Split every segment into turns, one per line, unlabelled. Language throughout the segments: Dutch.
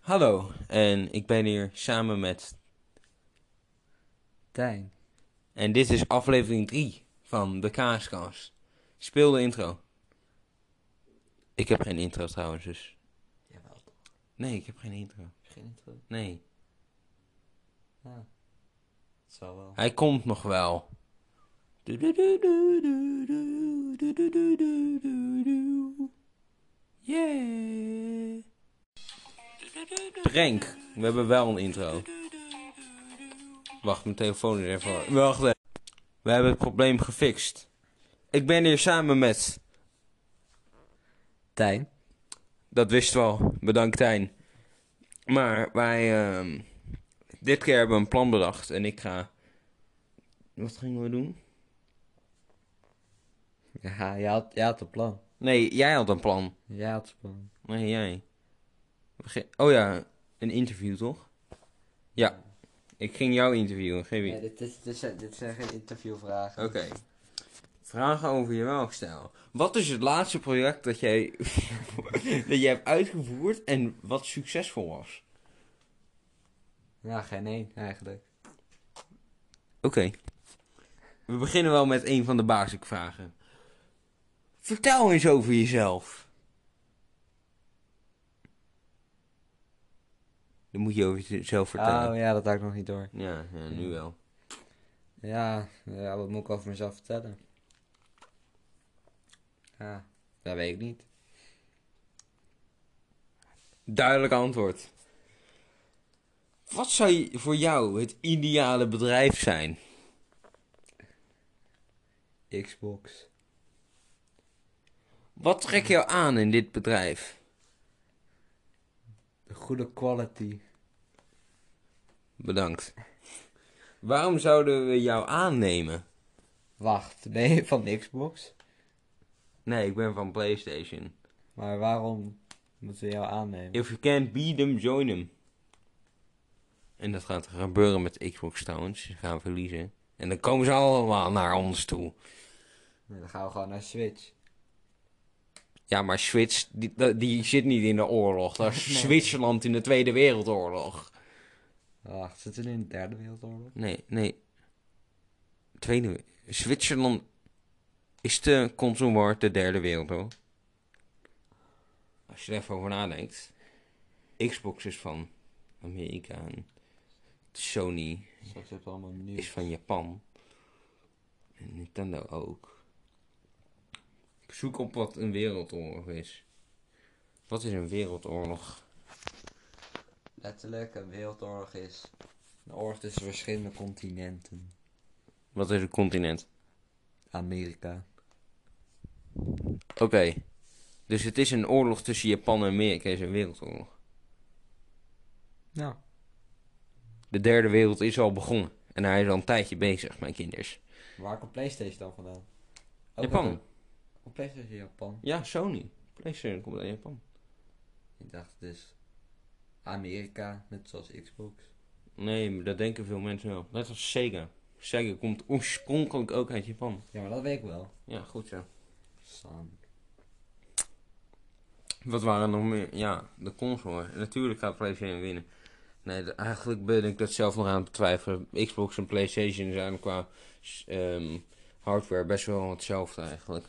Hallo, en ik ben hier samen met.
Tijn.
En dit is aflevering 3 van de Kaaskast. Speel de intro. Ik heb geen intro trouwens, dus.
Jawel, toch?
Nee, ik heb geen intro.
Geen intro.
Nee.
Ja. Het zal wel.
Hij komt nog wel. Yeah. Prank. We hebben wel een intro. Wacht, mijn telefoon is even... Wacht even. We hebben het probleem gefixt. Ik ben hier samen met...
Tijn.
Dat wist wel. Bedankt, Tijn. Maar wij... ehm, dit keer hebben we een plan bedacht. En ik ga... Wat gingen we doen?
Ja, jij had, jij had een plan.
Nee, jij had een plan.
Jij had een plan.
Nee, jij. Bege- Oh ja, een interview toch? Ja. Ik ging jou interviewen, geef je.
Nee, dit, dit, dit, zijn, dit zijn geen interviewvragen.
Oké. Vragen over je melkstijl. Wat is het laatste project dat jij, dat jij hebt uitgevoerd en wat succesvol was?
Ja, geen één eigenlijk.
Oké. We beginnen wel met een van de basisvragen. Vertel eens over jezelf. Dan moet je over jezelf vertellen.
Oh ja, dat had ik nog niet door.
ja, ja, nu wel.
Ja, ja, wat moet ik over mezelf vertellen? Ja, dat weet ik niet.
Duidelijk antwoord. Wat zou je- voor jou het ideale bedrijf zijn?
Xbox.
Wat trek jou aan in dit bedrijf?
De goede quality.
Bedankt. Waarom zouden we jou aannemen?
Wacht, ben je van de Xbox?
Nee, ik ben van PlayStation.
Maar waarom moeten we jou aannemen?
If you can't beat them, join them. En dat gaat gebeuren met Xbox trouwens. Ze gaan verliezen. En dan komen ze allemaal naar ons toe.
Nee, dan gaan we gewoon naar Switch.
Ja, maar Switch, die, da- die zit niet in de oorlog. Dat is Zwitserland in de Tweede Wereldoorlog.
Wacht, zitten we nu in de derde wereldoorlog?
Nee, nee. Tweede. Zwitserland is de console war de derde wereld, hoor. Als je er even over nadenkt. Xbox is van Amerika. en Sony
Straks heb je allemaal
is
nieuws.
van Japan. En Nintendo ook. Ik zoek op wat een wereldoorlog is. Wat is een wereldoorlog?
Letterlijk, een wereldoorlog is een oorlog tussen verschillende continenten.
Wat is een continent?
Amerika.
Oké. Dus het is een oorlog tussen Japan en Amerika, is een wereldoorlog.
Nou.
De derde wereld is al begonnen. En hij is al een tijdje bezig, mijn kinders.
Waar komt PlayStation dan vandaan? Ook
Japan.
uit- Komt PlayStation uit Japan?
Ja, Sony. PlayStation komt uit Japan.
Ik dacht dus Amerika, net zoals Xbox.
Nee, maar dat denken veel mensen wel. Net als Sega. Sega komt oorspronkelijk ook uit Japan.
Ja, maar dat weet ik wel.
Ja, goed zo.
San.
Wat waren er nog meer? Ja, de console. Natuurlijk gaat PlayStation winnen. Nee, d- eigenlijk ben ik dat zelf nog aan het betwijfelen. Xbox en PlayStation zijn qua s- ehm, hardware best wel hetzelfde eigenlijk.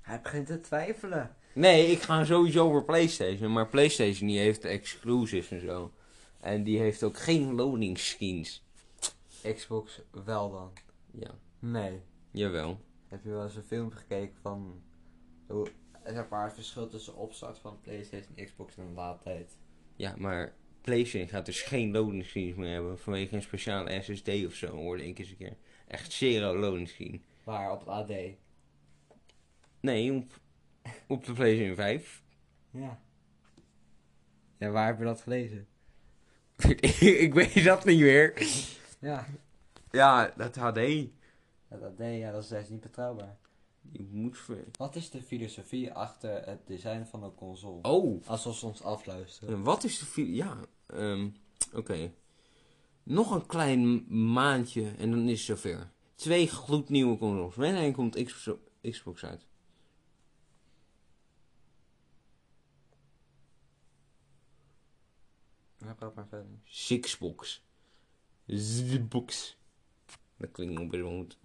Hij begint te twijfelen.
Nee, ik ga sowieso voor PlayStation. Maar PlayStation die heeft exclusives en zo. En die heeft ook geen loading skins.
Xbox wel dan.
Ja,
Nee.
jawel.
Heb je wel eens een film gekeken van hoe zeg maar, het verschil tussen opstart van PlayStation en Xbox en de laadtijd?
Ja, maar PlayStation gaat dus geen loading skins meer hebben. Vanwege een speciale SSD of zo, hoorde ik eens een keer. Echt zero loading skin.
Maar op het AD.
Nee, op, op de PlayStation 5.
Ja. Ja, waar heb je dat gelezen?
ik weet dat niet meer.
Ja.
Ja, dat HD.
Het AD, ja, dat is juist niet betrouwbaar.
Je moet ver...
Wat is de filosofie achter het design van een console?
Oh,
Alsof ze ons afluisteren.
En wat is de vi- Ja, ehm, oké. Nog een klein maandje en dan is het zover. Twee gloednieuwe consoles. Wanneer komt Xbox, Xbox uit?
gaat maar verder.
Sixbox. Zbox. Dat klinkt nog best wel goed.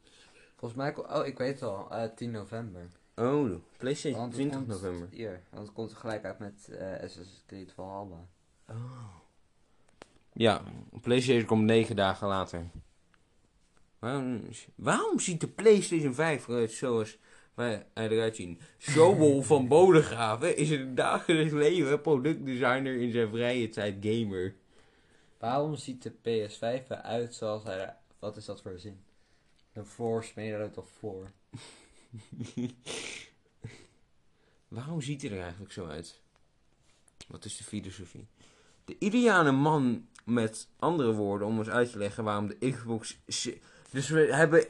Volgens mij, ko- oh ik weet het al, eh, 10 november.
Oh, de PlayStation
Want het
20
komt-
november.
Ja, want het komt tegelijk uit met eh Assassin's Creed Valhalla.
Oh. Ja, PlayStation komt 9 dagen later. Waarom, waarom ziet de PlayStation 5 eruit zoals wij hij eruit zien? Joel van Bodegraven is in het dagelijks leven productdesigner in zijn vrije tijd gamer.
Waarom ziet de PS5 eruit zoals hij er- Wat is dat voor zin? Een force made out of four.
Waarom ziet hij er eigenlijk zo uit? Wat is de filosofie? De ideale man, met andere woorden, om ons uit te leggen waarom de Xbox. s- Dus we hebben.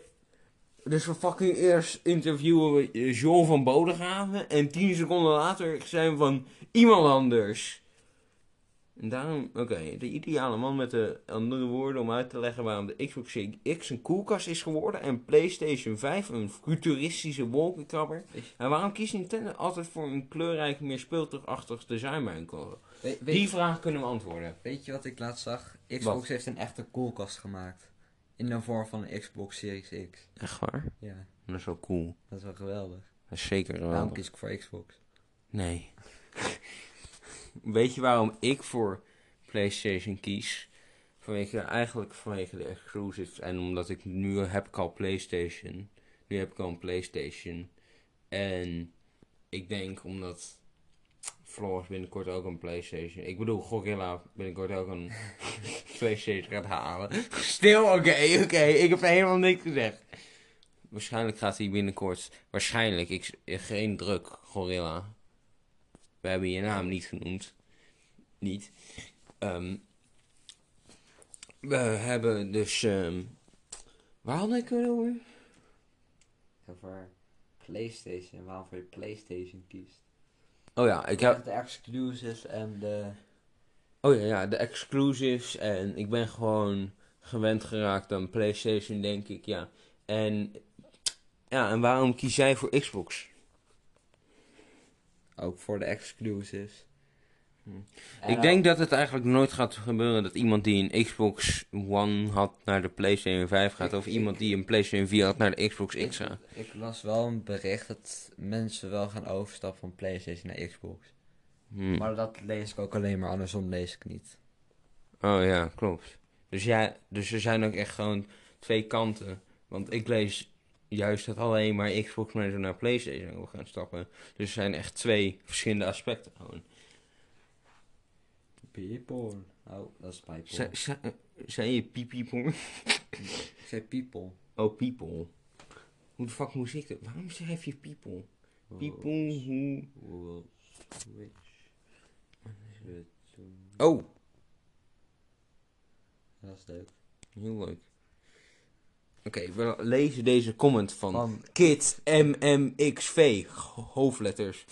Dus we fucking eerst interviewen we eh, John van Bodegraven. En tien seconden later zijn we van iemand anders. En daarom, oké, de ideale man met de andere woorden om uit te leggen waarom de Xbox Series X een koelkast is geworden en PlayStation 5 een futuristische wolkenkrabber. En waarom kiest Nintendo altijd voor een kleurrijk, meer speeltuigachtig design bij een console?
We- weet,
Die vraag kunnen we antwoorden.
weet je wat ik laatst zag? Xbox
Wat?
heeft een echte koelkast gemaakt. In de vorm van een Xbox Series X.
Echt waar?
Ja,
Dat is wel cool.
dat is wel geweldig.
Dat is zeker eh,
Waarom
wel.
kies ik voor Xbox?
Nee. Weet je waarom ik voor PlayStation kies? Vanwege, eigenlijk vanwege de exclusives. En omdat ik nu heb ik al PlayStation. Nu heb ik al een PlayStation. En ik denk omdat Floris binnenkort ook een PlayStation. Ik bedoel, Gorilla binnenkort ook een PlayStation gaat halen. Stil, oké, oké. Ik heb helemaal niks gezegd. Waarschijnlijk gaat hij binnenkort. Waarschijnlijk, ik, geen druk, Gorilla. We hebben je naam niet genoemd. Niet. Ehm, we hebben dus. ehm, waar had ik het over?
En voor PlayStation. Waarom voor je PlayStation kiest?
Oh ja, ik heb.
De exclusives en de...
Oh ja, ja, de exclusives. En ik ben gewoon gewend geraakt aan PlayStation, denk ik, ja. En. Ja, en waarom kies jij voor Xbox?
Ook voor de exclusives.
Hm.
En
ik
ook-
denk dat het eigenlijk nooit gaat gebeuren dat iemand die een Xbox One had naar de PlayStation 5 gaat.
Ik-
Of
ik-
iemand die een PlayStation 4 had naar de Xbox
Ik,
X gaat.
ik las wel een bericht dat mensen wel gaan overstappen van PlayStation naar Xbox.
Hm.
Maar dat lees ik ook alleen maar, andersom lees ik niet.
Oh ja, klopt. Dus, ja, dus er zijn ook echt gewoon twee kanten. Want ik lees juist dat alleen maar Xbox mensen naar PlayStation wil gaan stappen. Dus er zijn echt twee verschillende aspecten gewoon.
People. Oh, dat is people.
Z- z- Zijn je people?
ik zei people.
Oh, people. Hoe de fuck moest ik dat? Waarom schrijf je people? People who...
Will switch.
Oh,
Dat is leuk.
heel leuk. Oké, we lezen deze comment van...
Van,
Kid MMXV, ho- hoofdletters.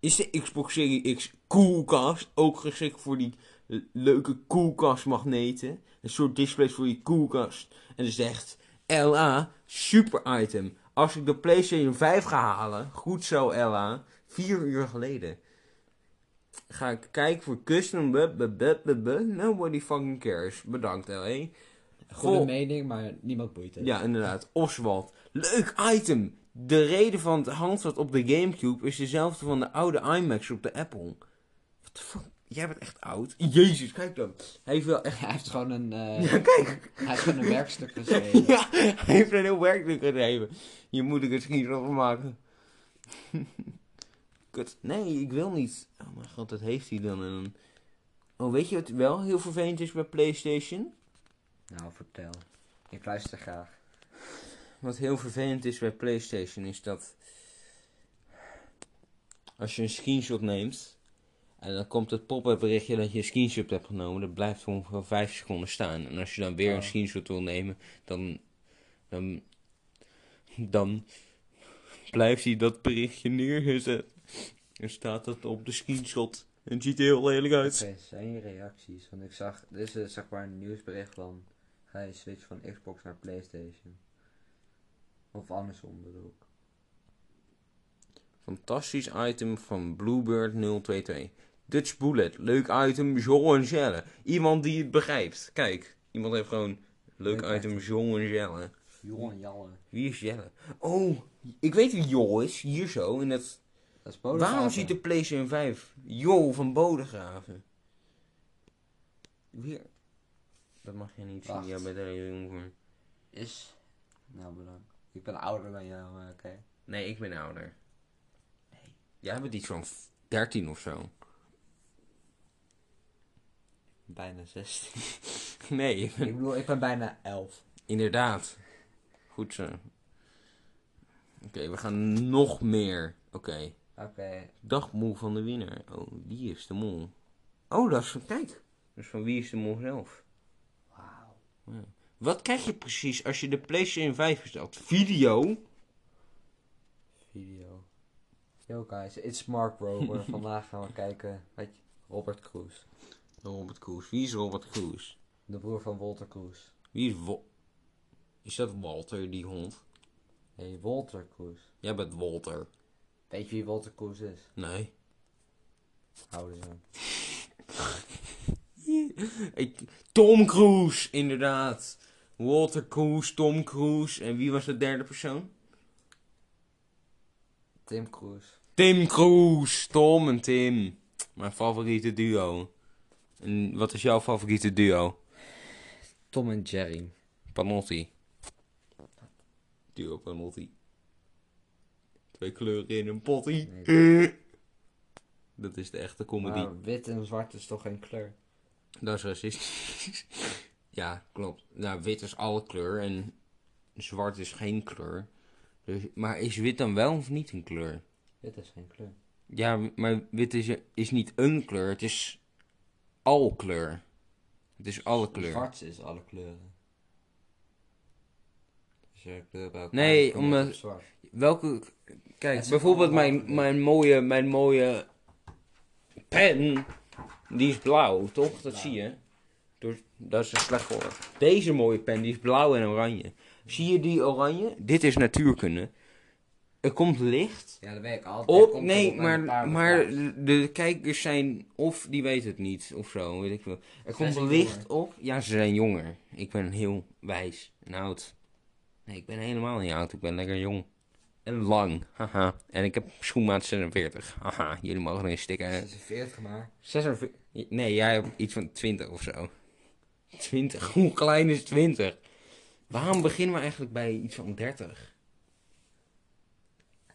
Is de Xbox Series X koelkast ook geschikt voor die le- leuke koelkastmagneten? Een soort displays voor je koelkast. En er zegt LA, super item. Als ik de PlayStation 5 ga halen, goed zo LA, vier uur geleden. Ga ik kijken voor custom, bup, bup, bup, bup, bup. nobody fucking cares. Bedankt LA.
goede
Goh.
mening, maar niemand boeit het.
Ja, inderdaad. Oswald. Leuk item. De reden van het handvat op de Gamecube is dezelfde van de oude IMAX op de Apple. What the fuck? Jij bent echt oud. Jezus, kijk dan. Hij heeft wel echt...
Hij heeft gewoon een, eh,
Ja, kijk.
hij heeft gewoon een werkstuk geschreven.
Ja, hij heeft een heel werkelijk gegeven. Hier moet ik een screenshot van maken. Kut. Nee, ik wil niet. Oh mijn god, dat heeft hij dan. En dan... Oh, weet je wat wel heel vervelend is bij PlayStation?
Nou, vertel. Ik luister graag.
Wat heel vervelend is bij PlayStation is dat als je een screenshot neemt en dan komt het pop-up berichtje dat je een screenshot hebt genomen, dat blijft ongeveer 5 seconden staan. En als je dan weer
Oh.
een screenshot wil nemen, dan, dan, dan blijft hij dat berichtje neergezet. En staat dat op de screenshot. En het ziet er heel lelijk
Oké,
uit.
zijn je reacties? Want ik zag, dit is eh, zeg maar een nieuwsbericht van, ga je switchen van Xbox naar Playstation? Of andersom bedoel ik.
Fantastisch item van Bluebird 022. Dutch Bullet, leuk item, Jean Jelle. Iemand die het begrijpt. Kijk, iemand heeft gewoon leuk
Leuk
item, Jean Jelle.
Jongen, Jalle.
Wie is Jelle? Oh, ik weet wie Jo is, hier zo. In het...
Dat is Bodegraven.
Waarom ziet de PlayStation 5 Jo van Bodegraven? Weer. Dat mag je niet zien,
Wacht.
ja, bij de jong voor.
Is... Nou, bedankt. Ik ben ouder dan jou, maar oké.
Nee, ik ben ouder. Jij bent iets van 13 of zo.
Bijna 16.
Nee, ik ben-
ik bedoel, ik ben bijna 11.
Inderdaad. Goed zo. Oké, we gaan nog meer. Oké.
Oké.
Dagmoe van de winnaar. Oh, wie is de mol? Oh, dat is van, kijk. Dat is van wie is de mol zelf.
Wauw.
Wat krijg je precies als je de PlayStation 5 bestelt? Video?
Video. Yo guys, it's Mark Rover. Vandaag gaan we kijken met Robert Kroes.
Robert Koes. Wie is Robert Koes?
De broer van Walter Kroes.
Wie is Wa- Is dat Walter, die hond?
Nee, Walter Kroes.
Jij bent Walter.
Weet je wie Walter Kroes is?
Nee.
Houden ze.
Ik, Tom Cruise, inderdaad. Walter Cruise, Tom Cruise. En wie was de derde persoon?
Tim Kroes.
Tim Cruise, Tom en Tim. Mijn favoriete duo. En wat is jouw favoriete duo?
Tom en Jerry.
Panotti. Duo Panotti. Twee kleuren in een potty. Dat is de echte comedy.
Maar wit en zwart is toch geen kleur?
Dat is racistisch. ja, klopt. Nou, wit is alle kleur en zwart is geen kleur. Dus, maar is wit dan wel of niet een kleur?
Wit is geen kleur.
Ja, maar wit is, is niet een kleur, het is al kleur. Het is alle kleur.
Zwart is alle kleuren. Dus je kleur bij elkaar
Nee,
is van wit
omdat-
op zwart.
Welke.
Het
Kijk,
is
bijvoorbeeld
allemaal
mijn,
kleur.
mijn, mooie, mijn mooie pen, die is blauw, toch? Dat zie je. Door, dat is een slecht voorbeeld. Deze mooie pen, die is blauw en oranje. Zie je die oranje? Dit is natuurkunde. Er komt licht.
Ja, dat weet ik altijd.
Op,
Komt
nee,
erop en een paar
maar,
wordt
maar
zwart.
de kijkers zijn of die weten het niet of zo, weet ik wel. Er komt
zijn
licht
jonger.
op. Ja, ze zijn jonger. Ik ben heel wijs en oud. Nee, ik ben helemaal niet oud. Ik ben lekker jong. En lang. Haha. En ik heb schoenmaat 46. Haha. Jullie mogen erin stikken.
Ze is 40 maar.
46. Nee, jij hebt iets van 20 of zo. 20. Hoe klein is 20? Waarom beginnen we eigenlijk bij iets van 30?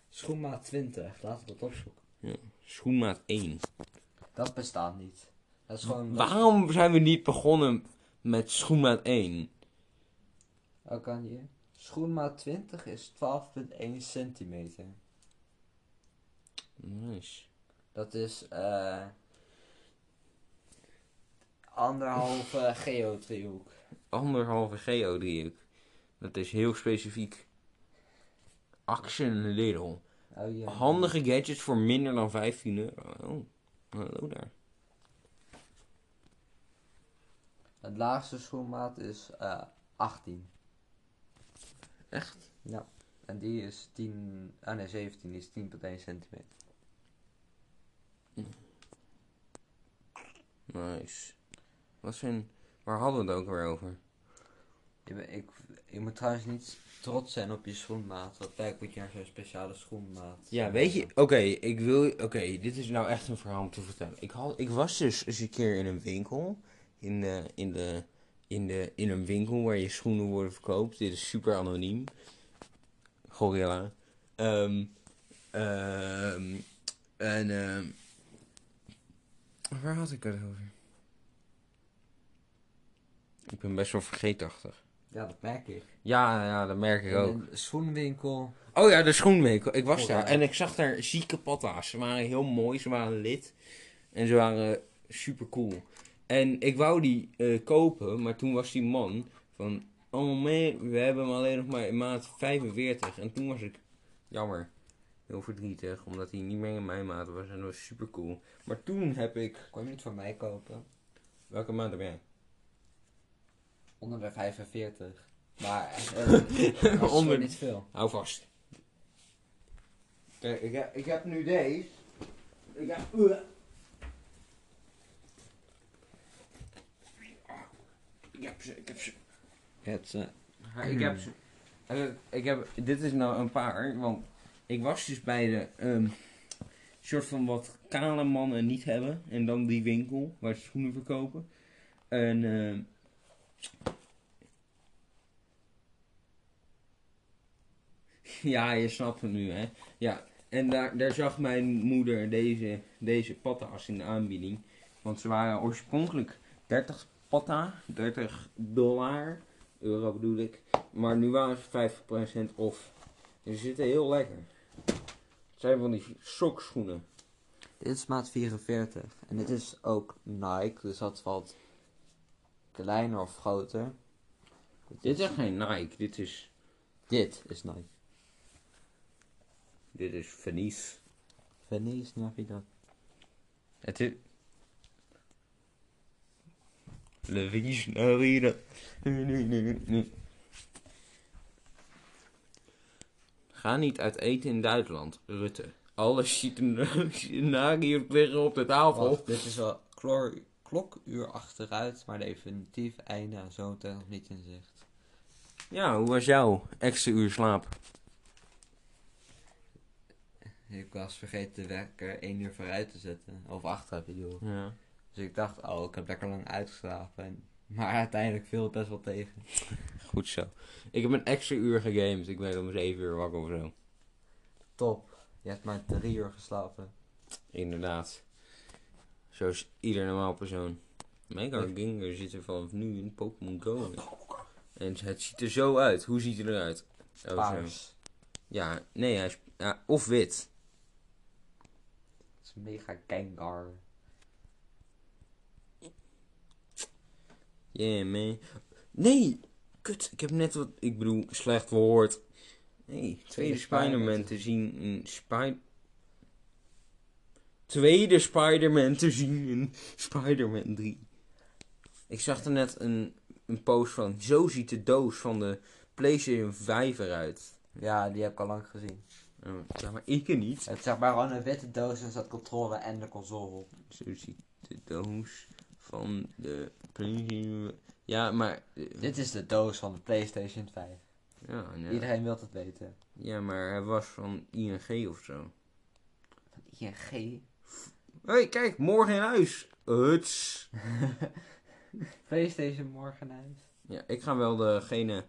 Schoenmaat 20, laten we dat opzoeken.
Schoenmaat 1.
Dat bestaat niet. Dat is gewoon.
Waarom zijn we niet begonnen met schoenmaat 1?
Hoe kan je? Schoenmaat 20 is 12,1 centimeter.
Nice.
Dat is eh anderhalve geodriehoek.
Anderhalve geodriehoek. Dat is heel specifiek. Action Lidl.
Oh, ja.
Handige gadgets voor minder dan 15 euro. Oh, hallo daar.
Het laagste schoenmaat is eh 18.
Echt?
Ja. En die is 10, ah nee 17, die is 10,1 centimeter.
Nice. Wat zijn... Waar hadden we het ook weer over?
Je, be- ik, je moet trouwens niet trots zijn op je schoenmaat, want kijk moet je naar zo'n speciale schoenmaat.
Ja, weet je... Oké, ik wil... Oké, dit is nou echt een verhaal om te vertellen. Ik, had, ik was dus eens een keer in een winkel. In de... In de in, de, in een winkel waar je schoenen worden verkoopt. Dit is super anoniem. Gorilla. Ehm, ehm, en ehm, waar had ik het over? Ik ben best wel vergeetachtig.
Ja, dat merk ik.
Ja, ja, dat merk ik
In
ook.
een schoenwinkel.
Oh ja, de schoenwinkel. Ik was
Oh,
daar
ja.
en ik zag daar zieke patta's. Ze waren heel mooi, ze waren lid. En ze waren super cool. En ik wou die eh, kopen, maar toen was die man van... Oh man, we hebben hem alleen nog maar in maat 45. En toen was ik... Jammer. Heel verdrietig, omdat hij niet meer in mijn maat was. En dat was super cool. Maar toen heb ik...
Kon je niet voor mij kopen?
Welke maat heb jij?
Onder de 45. Maar eh, dat is
Onder-
Onder... niet veel.
Hou vast. eh. Kijk, ik heb, ik heb nu deze. Ik heb... heb ze, ik heb ze.
Het, eh,
Ik heb ze. En het- ik heb, dit is nou een paar, want ik was dus bij de ehm, soort van wat kale mannen niet hebben. En dan die winkel waar ze schoenen verkopen. En ehm, ja, je snapt het nu, hè. Ja, en daar, daar zag mijn moeder deze, deze patta's in de aanbieding. Want ze waren oorspronkelijk 30 patta, 30 dollar, euro bedoel ik. Maar nu waren ze 50% off. En ze zitten heel lekker. Het zijn van die sokschoenen.
dit is maat 44. En dit is ook Nike, dus dat valt kleiner of groter.
Dit is echt geen Nike, dit is,
Dit is Nike.
dit is Venice.
Venice, snap je dat?
Het is... Le Venice ah, Narina. Ga niet uit eten in Duitsland, Rutte. Alle scenario's liggen op de tafel.
Wacht, dit is wel klor- klokuur achteruit, maar definitief einde aan zo'n tijd nog niet in zicht.
Ja, hoe was jouw extra uur slaap?
Ik was vergeten de wekker 1 uur vooruit te zetten. Of achteruit bedoel.
Ja.
Dus ik dacht, oh, ik heb lekker lang uitgeslapen. En- Maar uiteindelijk viel het best wel tegen.
Goed zo. Ik heb een extra uur gegamed. dus Ik ben om 7 uur wakker of zo.
Top. Je hebt maar drie uur geslapen.
Inderdaad. Zoals ieder normaal persoon. Mega Ginger zit er vanaf nu in Pokémon Go. in. En het ziet er zo uit. Hoe ziet hij eruit? Oh, zo.
Paars.
Ja, nee, hij is, ja, of wit.
Het is mega Gengar.
Yeah, man. Nee! Kut, ik heb net wat... Ik bedoel, slecht woord. Nee, tweede
Tweede
Spider-Man
Spider-Man.
te zien in Spider... Tweede Spider-Man te zien in Spider-Man 3. Ik zag er net een, een post van... Zo ziet de doos van de PlayStation 5 eruit.
Ja, die heb ik al lang gezien.
Oh, ja, maar ik er niet.
Het is zeg maar gewoon een witte doos en staat controle en de console op.
Zo ziet de doos van de PlayStation... Ja, maar... eh,
Dit is de doos van de PlayStation 5.
Ja, ja.
Iedereen wil dat weten.
Ja, maar hij was van ING of zo.
Van ING.
Hé, hey, kijk, morgen in huis. Huts.
PlayStation morgen uit.
Ja, ik ga wel degene...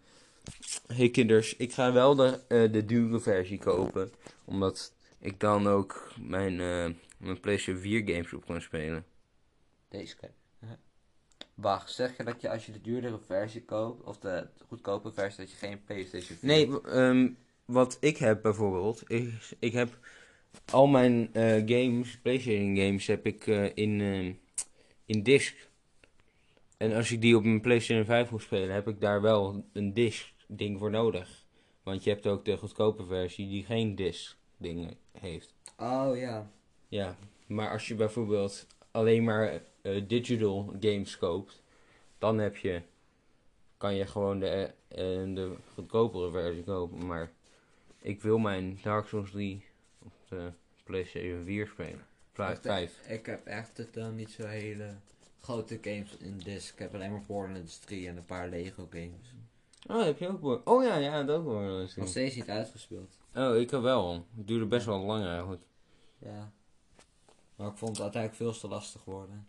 Hey kinders, ik ga wel de, eh, de dure versie kopen. Omdat ik dan ook mijn, eh, mijn PlayStation 4 games op kan spelen.
Deze kan. Wacht, zeg je dat je als je de duurdere versie koopt, of de goedkope versie, dat je geen PlayStation 4
Nee, w- ehm, wat ik heb bijvoorbeeld, is ik heb al mijn eh, games, PlayStation games, heb ik eh, in, ehm, in disc. En als ik die op mijn PlayStation 5 moet spelen, heb ik daar wel een disc ding voor nodig. Want je hebt ook de goedkope versie die geen disc dingen heeft.
Oh ja.
Ja, maar als je bijvoorbeeld alleen maar eh, digital games koopt, dan heb je, kan je gewoon de, eh, eh, de goedkopere versie kopen. Maar ik wil mijn Dark Souls 3 op de PlayStation 4 spelen. Vla-
Wacht,
5.
Ik heb echt totaal niet zo hele grote games in disc. Ik heb alleen maar Borderlands 3 en een paar Lego games.
Oh, heb je ook Bor- Oh ja, ja, dat ook Borderlands
Nog
3.
steeds niet uitgespeeld.
Oh, ik heb wel. Het duurde best wel lang eigenlijk.
Ja. Maar ik vond het uiteindelijk veel te lastig worden.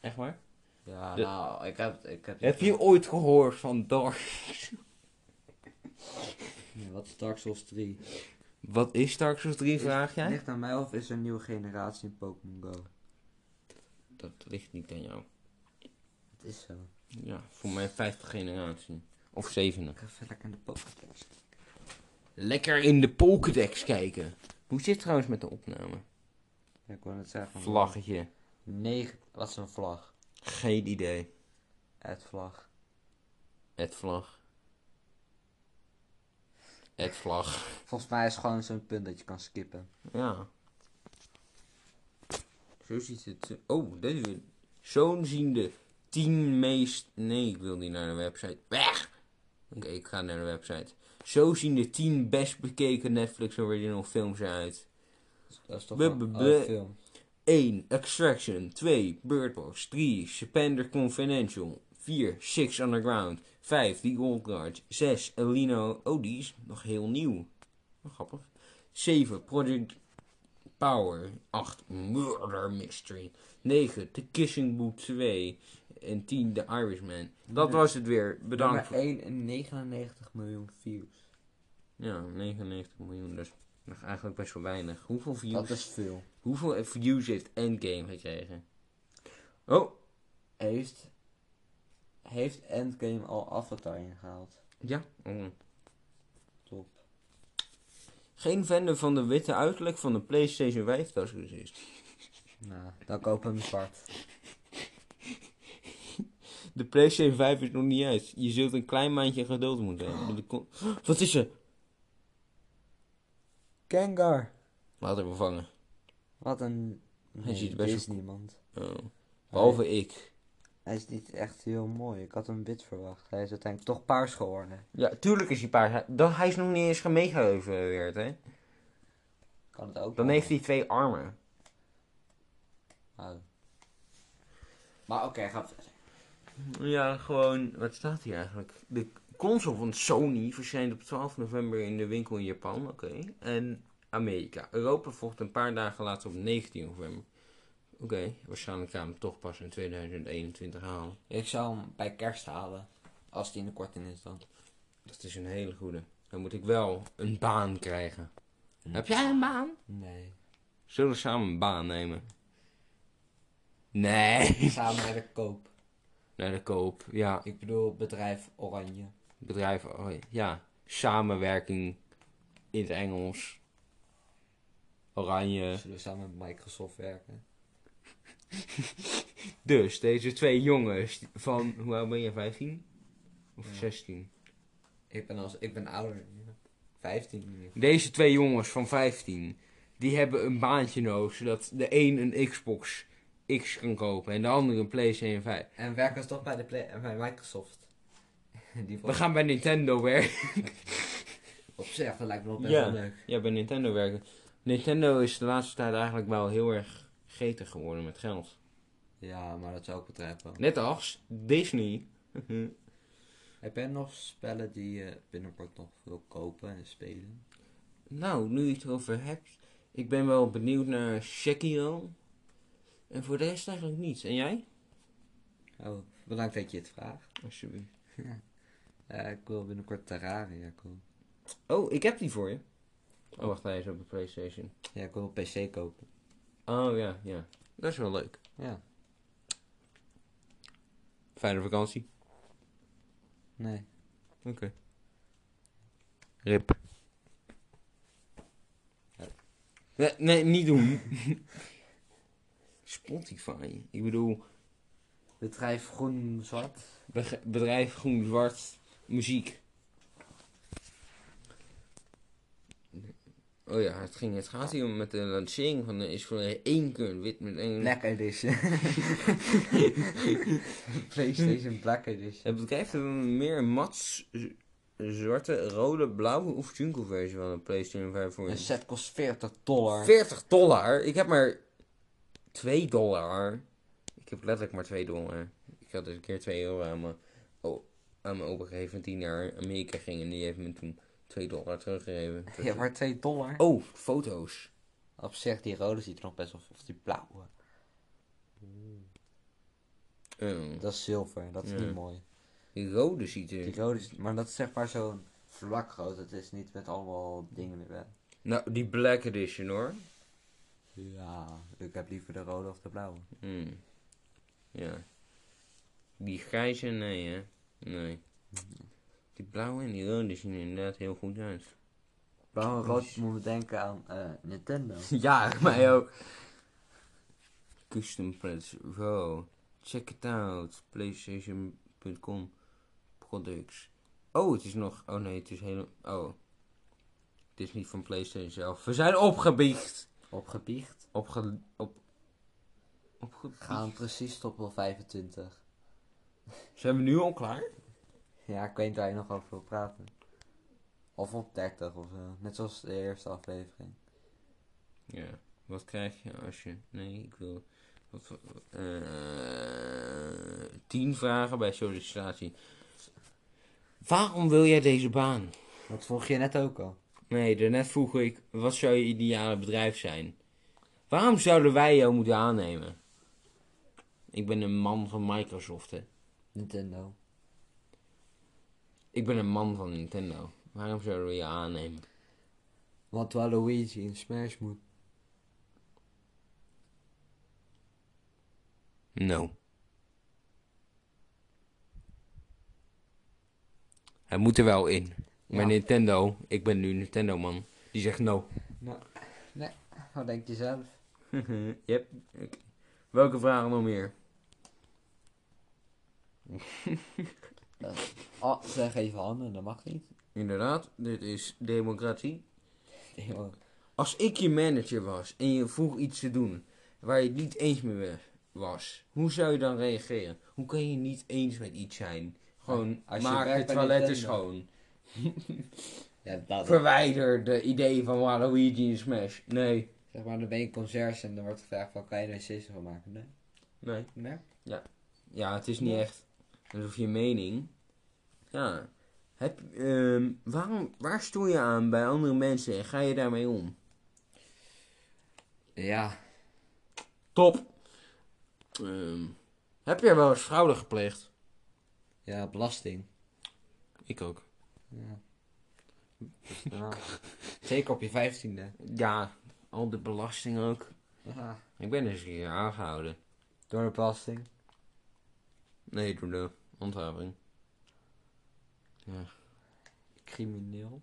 Echt waar?
Ja,
De-
nou, ik heb... Ik heb,
Heb je ooit gehoord van Dark?
Ja, Wat is Dark Souls 3?
Wat is Dark Souls 3,
Is-
vraag jij?
Ligt aan mij of is er een nieuwe generatie in Pokémon Go?
Dat ligt niet aan jou.
Het is zo.
Ja, voor mij 50 generatie. Of 70.
Ik ga even lekker in de Pokédex.
Lekker in de Pokédex kijken. Hoe zit het trouwens met de opname?
Ik wil het zeggen.
Vlaggetje.
9. Wat is een vlag?
Geen idee.
Het vlag.
Het vlag. Het vlag.
Volgens mij is het gewoon zo'n punt dat je kan skippen.
Ja. Zo ziet het. Oh, deze. Zo'n zien de 10 meest. Nee, ik wil niet naar de website. Weg! Oké, ik ga naar de website. Zo zien de 10 best bekeken Netflix original films eruit.
Dat is toch
Blub,
wel
blub,
oh,
blub.
film.
1. Extraction. 2. Bird Box. 3. Spender Confidential. 4. Six Underground. 5. The Old Guard. 6. Elino. Oh, die is nog heel nieuw. Wel Grappig. 7. Project Power. 8. Murder Mystery. 9. The Kissing Boot 2. En 10. The Irishman. Dat was het weer. Bedankt.
Nummer
Voor...
1 en 99 miljoen views.
Ja, 99 miljoen. Dus nog eigenlijk best wel weinig. Hoeveel
Dat
views,
is veel.
hoeveel views heeft Endgame gekregen? Oh,
Heeft, heeft Endgame al Avatar ingehaald?
ja. Oh.
Top.
Geen vende van de witte uiterlijk van de PlayStation 5 tas is.
Nou, dan kopen we hem zwart.
De PlayStation 5 is nog niet uit. Je zult een klein maandje geduld moeten hebben. De con- Wat is er?
Kengar.
Laat hem vangen.
Wat een...
Hij ziet er
dit
best
is niemand.
Oh. Behalve ik.
Hij is niet echt heel mooi. Ik had hem wit verwacht. Hij is uiteindelijk toch paars geworden.
Ja, tuurlijk is hij paars. Hij- Dan, hij is nog niet eens gemegeleveerd, hè?
Kan het ook
Dan
wel.
heeft hij twee armen.
Oh. Maar oké, ga verder.
Ja, gewoon... Wat staat hier eigenlijk? De console van Sony verschijnt op 12 november in de winkel in Japan, oké. En Amerika. Europa volgt een paar dagen later op 19 november. Oké, waarschijnlijk gaan we hem toch pas in 2021 halen.
Ik zou hem bij kerst halen. Als die in de korting is dan.
Dat is een hele goede. Dan moet ik wel een baan krijgen.
Hmm.
Heb jij een baan?
Nee.
Hm. Zullen we samen een baan nemen? Nee.
Samen met de koop.
Naar de koop, ja.
Ik bedoel bedrijf Oranje.
Bedrijf, oh, ja. Samenwerking in het Engels. Oranje.
Zullen we samen met Microsoft werken?
Dus, deze twee jongens van, hoe oud ben je, 15? Of
Ja.
16?
Ik ben, als, ik ben ouder. ja. 15 in ieder geval.
Deze twee jongens van 15, die hebben een baantje nodig, zodat de een een Xbox X kan kopen en de ander een PlayStation 5.
En werken ze toch bij, de play, bij Microsoft? Die
We
vond
gaan bij Nintendo werken.
op zich, dat lijkt me wel best
Ja.
wel leuk.
Ja, bij Nintendo werken. Nintendo is de laatste tijd eigenlijk wel heel erg getig geworden met geld.
Ja, maar dat zou ook bedrijf wel.
Net als Disney.
Heb jij nog spellen die je binnenkort nog wil kopen en spelen?
nou, nu je het erover hebt. Ik ben wel benieuwd naar Sekiro. En voor de rest eigenlijk niets. En jij?
Oh, bedankt dat je het vraagt.
Alsjeblieft.
Eh, ik wil binnenkort Terraria kopen.
Oh, ik heb die voor je. Oh, wacht, hij is op de Playstation.
Ja, ik wil een PC kopen.
Oh, ja, ja. Dat is wel leuk.
Ja,
Fijne vakantie.
nee.
Oké. Rip. Nee, nee, niet doen. Spotify. Ik bedoel,
Bedrijf Groen Zwart.
beg- bedrijf groen-zwart muziek. Oh ja, het, ging, het gaat hier om met de lancering van de is voor één keer wit met één.
Black Edition. PlayStation Black Edition.
Het bedrijf heeft meer een mat z- zwarte, rode, blauwe of jungle versie van de PlayStation 5 voor
Een set kost 40 dollar.
40 dollar? Ik heb maar 2 dollar. Ik heb letterlijk maar 2 dollar. Ik had dus een keer 2 euro aan mijn, o- aan mijn opa gegeven en die naar Amerika ging. En die heeft me toen 2 dollar teruggegeven. Dus-
Ja, maar 2 dollar.
Oh, foto's.
Op zich, die rode ziet er nog best wel... Of die blauwe.
Oh,
Dat is zilver, dat is
Ja.
niet mooi.
die rode ziet
Die
er...
rode is... Maar dat is zeg maar zo'n vlak rood. Het is niet met allemaal dingen erbij.
Nou, die black edition hoor.
Ja, ik heb liever de rode of de blauwe.
Hmm. Ja. Die grijze, nee hè. Nee. Die blauwe en die rode zien er inderdaad heel goed uit.
Blauw en rood moet me denken aan eh, Nintendo.
Ja, mij ook. Custom Press Wow. Check it out. PlayStation.com products. Oh, het is nog. Oh nee, het is helemaal. Oh. Het is niet van PlayStation zelf. We zijn opgebiecht.
Opgebiecht.
Opge. Op. Opgebiecht.
Gaan precies tot wel 25.
Zijn we nu al klaar?
Ja, ik weet niet waar je nog over wil praten. Of op 30 of zo. Net zoals de eerste aflevering.
Ja. Wat krijg je als je. Nee, ik wil. Wat. voor- eh 10 vragen bij sollicitatie. Waarom wil jij deze baan?
Dat vroeg je net ook al.
Nee, daarnet vroeg ik, wat zou je ideale bedrijf zijn? Waarom zouden wij jou moeten aannemen? Ik ben een man van Microsoft, hè.
Nintendo.
Ik ben een man van Nintendo. Waarom zouden we je aannemen?
Want waar Luigi in Smash moet.
No. Hij moet er wel in. Maar
Ja.
Nintendo, ik ben nu Nintendo man, die zegt no.
Nou, nee. Wat denk je zelf?
yep. Oké. Welke vragen nog meer?
Oh, zeg even handen, dat mag niet.
Inderdaad, dit is democratie.
Eeuw.
Als ik je manager was en je vroeg iets te doen waar je het niet eens mee we- was, hoe zou je dan reageren? Hoe kan je niet eens met iets zijn? Gewoon
Als je
maak
werkt
de
bij
toiletten
Nintendo.
schoon.
Ja, dat
Verwijder de idee van Waluigi in Smash. Nee.
Zeg maar, dan ben je conciërge en dan wordt gevraagd van, kan je er een sisser van maken? Nee.
Nee.
Nee?
Ja, het is niet echt. Alsof je mening. Ja. Heb, ehm, waarom, waar stoor je aan bij andere mensen en ga je daarmee om?
Ja.
Top. Ehm, heb jij wel eens fraude gepleegd?
Ja, belasting.
Ik ook.
Ja. Dus, ja. Zeker op je vijftiende.
Ja, al de belasting ook.
Ja.
Ik ben eens een keer aangehouden.
Door de belasting.
Nee, door de handhaving.
Crimineel.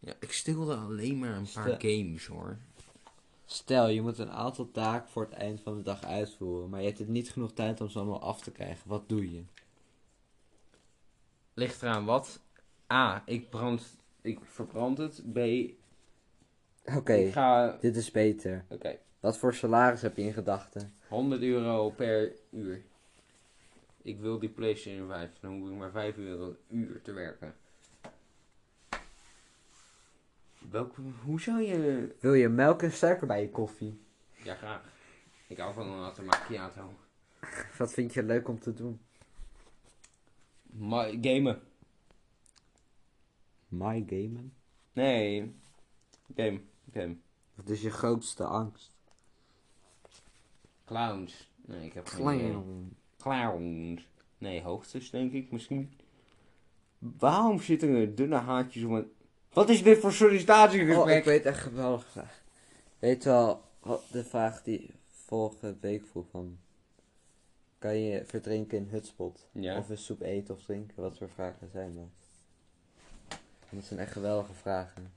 Ja, ik stilde alleen maar een paar
Stel-
games hoor.
Stel, je moet een aantal taken voor het eind van de dag uitvoeren, maar je hebt het niet genoeg tijd om ze allemaal af te krijgen. Wat doe je?
Ligt eraan wat? A, ik brand... Ik verbrand het. B,
Oké,
ik ga...
dit is beter.
Oké.
Wat voor salaris heb je in gedachten?
100 euro per uur. Ik wil die PlayStation 5. Dan hoef ik maar 5 euro uur te werken. Welk, hoe zou je...
Wil je melk en suiker bij je koffie?
Ja, graag. Ik hou van een latte macchiato.
Wat vind je leuk om te doen?
Ma gamen.
My gamen.
Nee. Game. Game.
Wat is je grootste angst?
Clowns. Nee, ik heb geen idee. Clowns. Nee, hoogtes denk ik misschien. Waarom zitten er dunne haartjes om een... Wat is dit voor
Oh, ik
sollicitatiegesprek?
weet echt geweldig vraag. Weet je wel, wat de vraag die vorige week vroeg van... Kan je verdrinken in hutspot?
Ja.
Of een soep eten of drinken? Wat voor vragen zijn dat? Want Dat zijn echt geweldige vragen.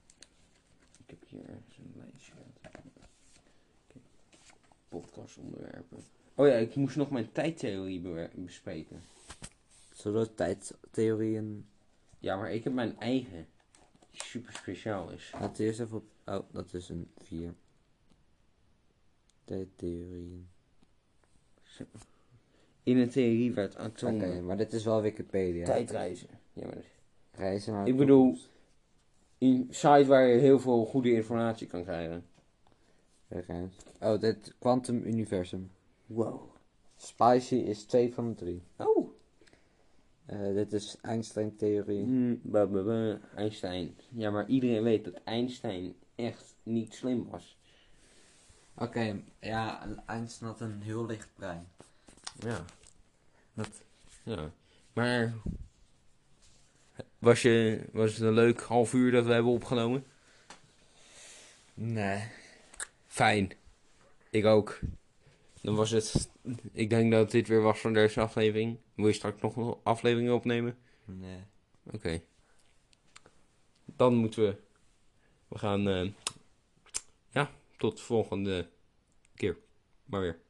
Ik heb hier ergens een lijstje. Oké. Podcastonderwerpen. Oh ja, ik moest nog mijn tijdtheorie bewer- bespreken.
Zodat tijdtheorieën...
Ja, maar ik heb mijn eigen. Die super speciaal is.
Laten we eerst even op... Oh, dat is een 4. Tijdtheorieën.
In een theorie werd
Oké,
atomen
maar dit is wel Wikipedia.
tijdreizen. Ja, maar
Reizen naar de
Ik bedoel-
toekomst.
een site waar je heel veel goede informatie kan krijgen.
Reizen. Oh, dit Quantum Universum.
Wow.
Spicy is 2 van de 3.
Oh.
Eh, dit is Einstein-theorie.
Mm, ba, ba, ba. Einstein. Ja, maar iedereen weet dat Einstein echt niet slim was.
Oké, ja, Einstein had een heel licht brein.
Ja.
Dat-
Ja. Maar... Was, je, was het een leuk half uur dat we hebben opgenomen?
Nee.
Fijn. Ik ook. Dan was het... Ik denk dat dit weer was van deze aflevering. Wil je straks nog een aflevering opnemen?
Nee.
Oké. Dan moeten we. We gaan. eh, ja, tot volgende keer. Maar weer.